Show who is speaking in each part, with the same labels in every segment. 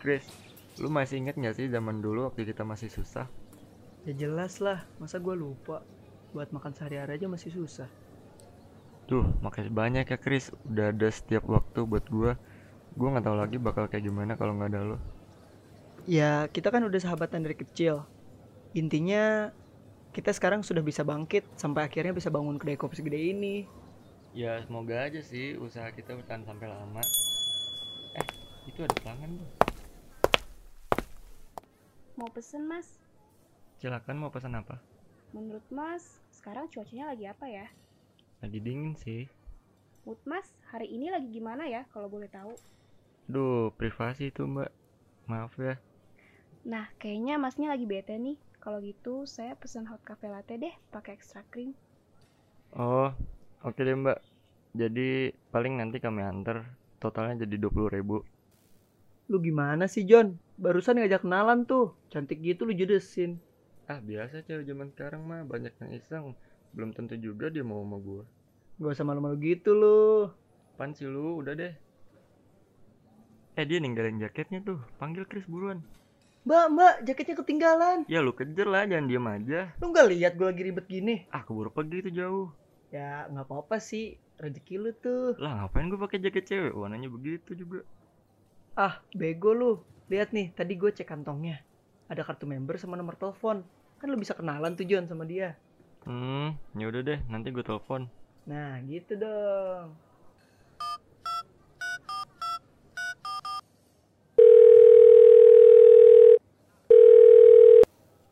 Speaker 1: Chris, lu masih inget gak sih zaman dulu waktu kita masih susah?
Speaker 2: Ya jelas lah, masa gue lupa? Buat makan sehari-hari aja masih susah.
Speaker 1: Duh, makasih banyak ya Chris, udah ada setiap waktu buat gua. Gua nggak tahu lagi bakal kayak gimana kalau nggak ada lo.
Speaker 2: Ya kita kan udah sahabatan dari kecil. Intinya kita sekarang sudah bisa bangkit sampai akhirnya bisa bangun kedai kopi segede ini.
Speaker 1: Ya semoga aja sih usaha kita bertahan sampai lama. Eh, itu ada pelanggan tuh.
Speaker 3: Mau pesen mas,
Speaker 1: Silakan mau pesan apa?
Speaker 3: menurut mas sekarang cuacanya lagi apa ya?
Speaker 1: Lagi dingin sih.
Speaker 3: Mood mas hari ini lagi gimana ya kalau boleh tahu?
Speaker 1: Duh, privasi tuh mbak. Maaf ya.
Speaker 3: Nah kayaknya masnya lagi bete nih. Kalau gitu saya pesan hot cafe latte deh pakai extra cream.
Speaker 1: Oh, oke deh mbak. Jadi paling nanti kami antar. Totalnya jadi 20.000 ribu.
Speaker 2: Lu gimana sih John? Barusan ngajak kenalan tuh. Cantik gitu lu judesin.
Speaker 1: Ah biasa cewek zaman sekarang mah banyak yang iseng. Belum tentu juga dia mau sama gua.
Speaker 2: Gak usah malu-malu gitu lu.
Speaker 1: Pan sih lu, udah deh. Eh dia ninggalin jaketnya tuh. Panggil Chris buruan.
Speaker 2: Mbak, mbak, jaketnya ketinggalan.
Speaker 1: Ya lu kejar lah, jangan diem aja.
Speaker 2: Lu nggak lihat gue lagi ribet gini?
Speaker 1: Ah keburu pergi tuh jauh.
Speaker 2: Ya nggak apa-apa sih. Rezeki lu tuh.
Speaker 1: Lah ngapain gua pakai jaket cewek? Warnanya begitu juga.
Speaker 2: Ah, bego lu. Lihat nih, tadi gue cek kantongnya. Ada kartu member sama nomor telepon. Kan lu bisa kenalan tuh John sama dia.
Speaker 1: Hmm, ya udah deh, nanti gua telepon.
Speaker 2: Nah, gitu dong.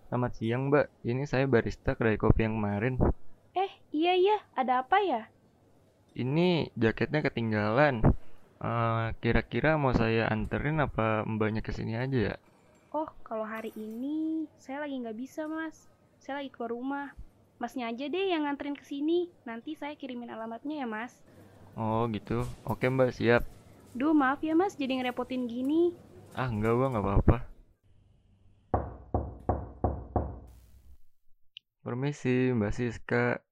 Speaker 1: Selamat siang, Mbak. Ini saya barista kedai kopi yang kemarin.
Speaker 3: Eh iya iya ada apa ya?
Speaker 1: Ini jaketnya ketinggalan. Eh, kira-kira mau saya anterin apa mbaknya kesini aja ya?
Speaker 3: Oh kalau hari ini saya lagi nggak bisa mas. Saya lagi keluar rumah. Masnya aja deh yang nganterin ke sini. Nanti saya kirimin alamatnya ya mas.
Speaker 1: Oh gitu. Oke mbak siap.
Speaker 3: Duh maaf ya mas jadi ngerepotin gini.
Speaker 1: Ah enggak bang nggak apa-apa. Permisi Mbak Siska.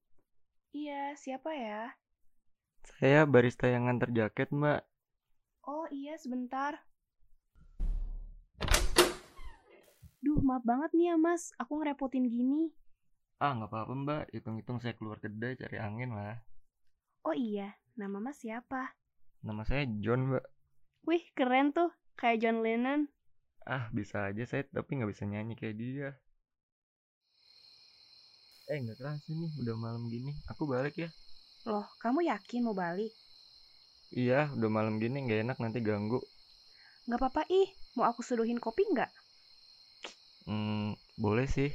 Speaker 3: Iya siapa ya?
Speaker 1: Saya barista yang nganter jaket Mbak.
Speaker 3: Oh iya sebentar. Duh maaf banget nih ya mas, aku ngerepotin gini.
Speaker 1: Ah nggak apa-apa Mbak. Hitung-hitung saya keluar kedai cari angin lah.
Speaker 3: Oh iya, nama mas siapa?
Speaker 1: Nama saya John Mbak.
Speaker 3: Wih keren tuh, kayak John Lennon.
Speaker 1: Ah bisa aja saya tapi nggak bisa nyanyi kayak dia. Eh nggak kerasa nih udah malam gini. Aku balik ya.
Speaker 3: Loh, kamu yakin mau balik?
Speaker 1: Iya udah malam gini nggak enak nanti ganggu.
Speaker 3: Gak apa-apa ih, mau aku seduhin kopi nggak?
Speaker 1: Hmm boleh sih.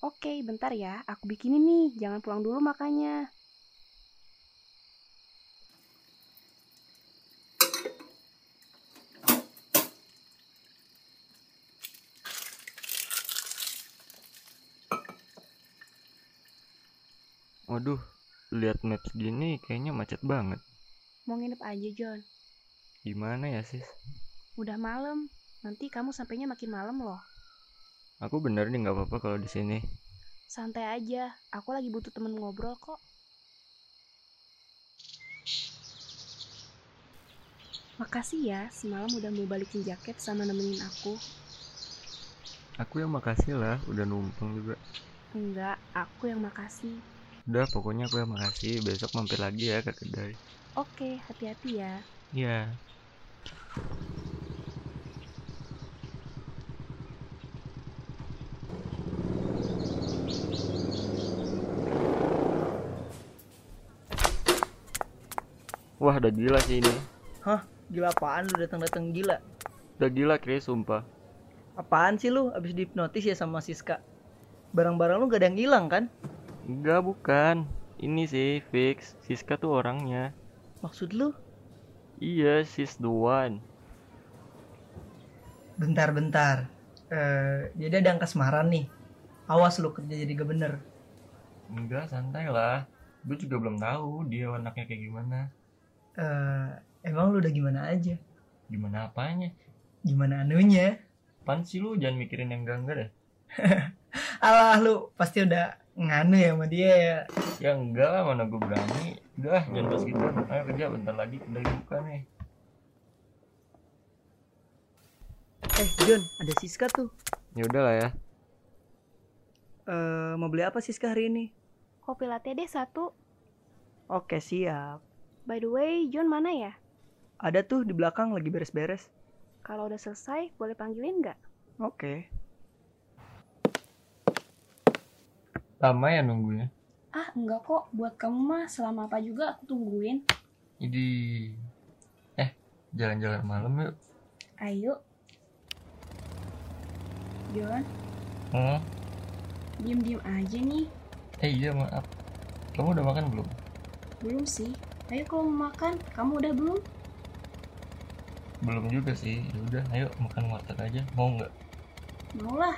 Speaker 3: Oke, bentar ya, aku bikinin nih, jangan pulang dulu makanya.
Speaker 1: Waduh lihat maps gini kayaknya macet banget.
Speaker 3: Mau nginep aja John,
Speaker 1: Gimana ya sis?
Speaker 3: udah malam. Nanti kamu sampainya makin malam loh.
Speaker 1: Aku bener nih nggak apa-apa kalau di sini.
Speaker 3: Santai aja, aku lagi butuh temen ngobrol kok. Makasih ya, semalam udah mau balikin jaket sama nemenin aku.
Speaker 1: Aku yang makasih lah, udah numpang juga.
Speaker 3: Enggak, aku yang makasih.
Speaker 1: Udah, pokoknya aku yang makasih. Besok mampir lagi ya ke kedai.
Speaker 3: Oke, hati-hati ya.
Speaker 1: Iya. Wah, udah gila sih ini.
Speaker 2: Gila apaan lu datang-datang gila?
Speaker 1: Udah gila, Chris, sumpah.
Speaker 2: Apaan sih lu abis dihipnotis ya sama Siska? Barang-barang lu gak ada yang hilang kan?
Speaker 1: Enggak, bukan. Ini sih, fix. Siska tuh orangnya.
Speaker 2: Maksud lu?
Speaker 1: Iya, sis the one.
Speaker 2: Bentar-bentar. Eh, jadi ada yang kasmaran nih. Awas lu kerja jadi gak bener.
Speaker 1: Enggak, santai lah. Gue juga belum tahu dia anaknya kayak gimana.
Speaker 2: Eh, emang lu udah gimana aja?
Speaker 1: Gimana apanya?
Speaker 2: Gimana anunya?
Speaker 1: Pan sih lu jangan mikirin yang enggak-enggak deh.
Speaker 2: Alah lu pasti udah nganu ya sama dia ya.
Speaker 1: Ya enggak lah, mana gue berani. Udah, jangan pas gitu. Ayo kerja bentar lagi kedai buka nih.
Speaker 2: Eh, John, ada Siska tuh.
Speaker 1: Ya udahlah ya.
Speaker 2: Eh, mau beli apa Siska hari ini?
Speaker 3: Kopi latte deh satu.
Speaker 2: Oke, siap.
Speaker 3: By the way, John mana ya?
Speaker 2: Ada tuh di belakang lagi beres-beres.
Speaker 3: Kalau udah selesai, boleh panggilin nggak?
Speaker 2: Oke.
Speaker 1: Lama ya nunggunya.
Speaker 3: Ah, enggak kok. Buat kamu mah selama apa juga aku tungguin.
Speaker 1: Jadi eh jalan-jalan malam yuk.
Speaker 3: Ayo. John,
Speaker 1: Hmm.
Speaker 3: diem-diem aja nih.
Speaker 1: Eh iya maaf. Kamu udah makan belum?
Speaker 3: Belum sih. Ayo kalau mau makan, kamu udah belum?
Speaker 1: Belum juga sih. Ya udah, ayo makan warteg aja. Mau nggak?
Speaker 3: Maulah.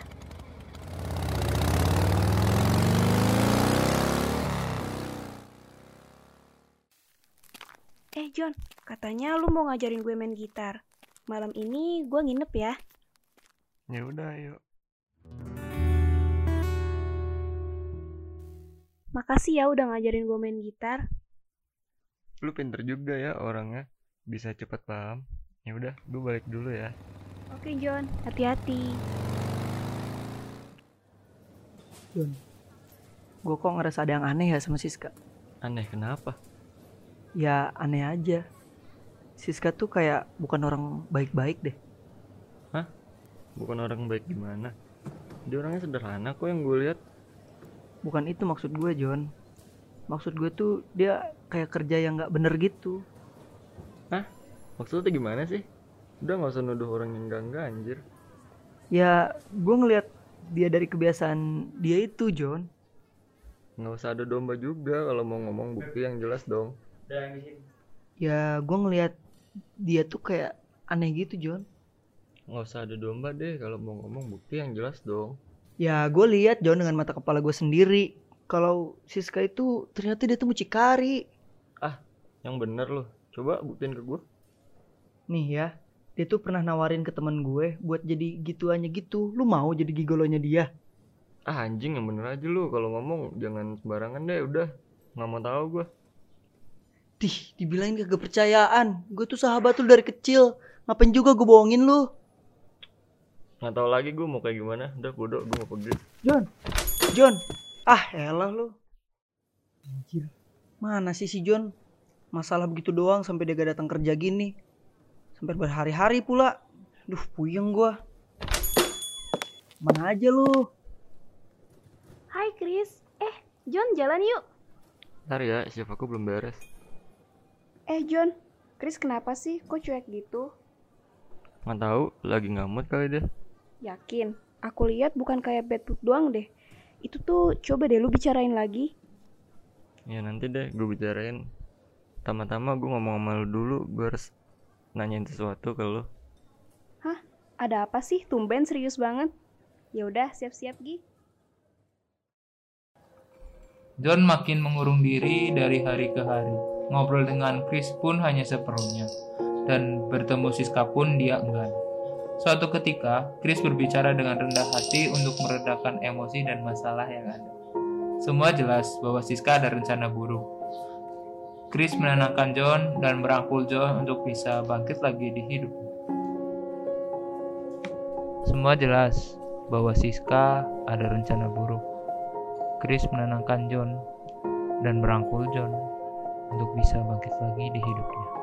Speaker 3: Eh John, katanya lu mau ngajarin gue main gitar. Malam ini gue nginep ya.
Speaker 1: Ya udah, ayo.
Speaker 3: Makasih ya udah ngajarin gue main gitar.
Speaker 1: Lu pinter juga ya orangnya. Bisa cepat paham. Ya udah, gue balik dulu ya.
Speaker 3: Oke John, hati-hati.
Speaker 2: Gue kok ngerasa ada yang aneh ya sama Siska.
Speaker 1: Aneh kenapa?
Speaker 2: Ya, aneh aja. Siska tuh kayak bukan orang baik-baik deh.
Speaker 1: Bukan orang baik gimana. Dia orangnya sederhana kok yang gue lihat.
Speaker 2: Bukan itu maksud gue, John. Maksud gue tuh dia kayak kerja yang nggak bener gitu.
Speaker 1: Maksudnya tuh gimana sih? Udah nggak usah nuduh orang yang enggak anjir.
Speaker 2: Ya, gue ngelihat dia dari kebiasaan dia itu, John.
Speaker 1: Nggak usah ada domba juga kalau mau ngomong bukti yang jelas dong.
Speaker 2: Ya, gue ngelihat dia tuh kayak aneh gitu, John.
Speaker 1: Nggak usah ada domba deh kalau mau ngomong bukti yang jelas dong.
Speaker 2: Ya, gue lihat John dengan mata kepala gue sendiri. Kalau Siska itu ternyata dia tuh mucikari.
Speaker 1: Yang bener loh. Coba buktiin ke gue.
Speaker 2: Nih ya, dia tuh pernah nawarin ke temen gue buat jadi gituannya gitu. Lu mau jadi gigolonya dia?
Speaker 1: Ah anjing yang bener aja lu kalau ngomong jangan sembarangan deh udah nggak mau tahu gue.
Speaker 2: Dih, dibilangin kagak percayaan. Gue tuh sahabat lu dari kecil. Ngapain juga gue bohongin lu?
Speaker 1: Nggak tahu lagi gue mau kayak gimana. Udah bodoh gue mau pergi.
Speaker 2: John. Ah, elah lu. Anjir. Mana sih si John? Masalah begitu doang sampai dia gak datang kerja gini. Sampai berhari-hari pula. Duh, puyeng gua. Mana aja lu?
Speaker 3: Hai Chris. Eh, John jalan yuk.
Speaker 1: Ntar ya siap aku belum beres.
Speaker 3: Eh John, Chris kenapa sih? Kok cuek gitu?
Speaker 1: Nggak tahu lagi ngamut kali deh.
Speaker 3: Yakin? Aku lihat bukan kayak bad mood doang deh. Itu tuh coba deh lu bicarain lagi.
Speaker 1: Ya nanti deh gue bicarain. Tama-tama gue ngomong sama lu dulu gue harus nanyain sesuatu ke lu.
Speaker 3: Ada apa sih? Tumben serius banget. Ya udah, siap-siap Gi.
Speaker 4: John makin mengurung diri dari hari ke hari. Ngobrol dengan Chris pun hanya seperlunya. Dan bertemu Siska pun dia enggan. Suatu ketika, Chris berbicara dengan rendah hati untuk meredakan emosi dan masalah yang ada. Semua jelas bahwa Siska ada rencana buruk. Chris menenangkan John dan merangkul John untuk bisa bangkit lagi di hidupnya. Semua jelas bahwa Siska ada rencana buruk. Chris menenangkan John dan merangkul John untuk bisa bangkit lagi di hidupnya.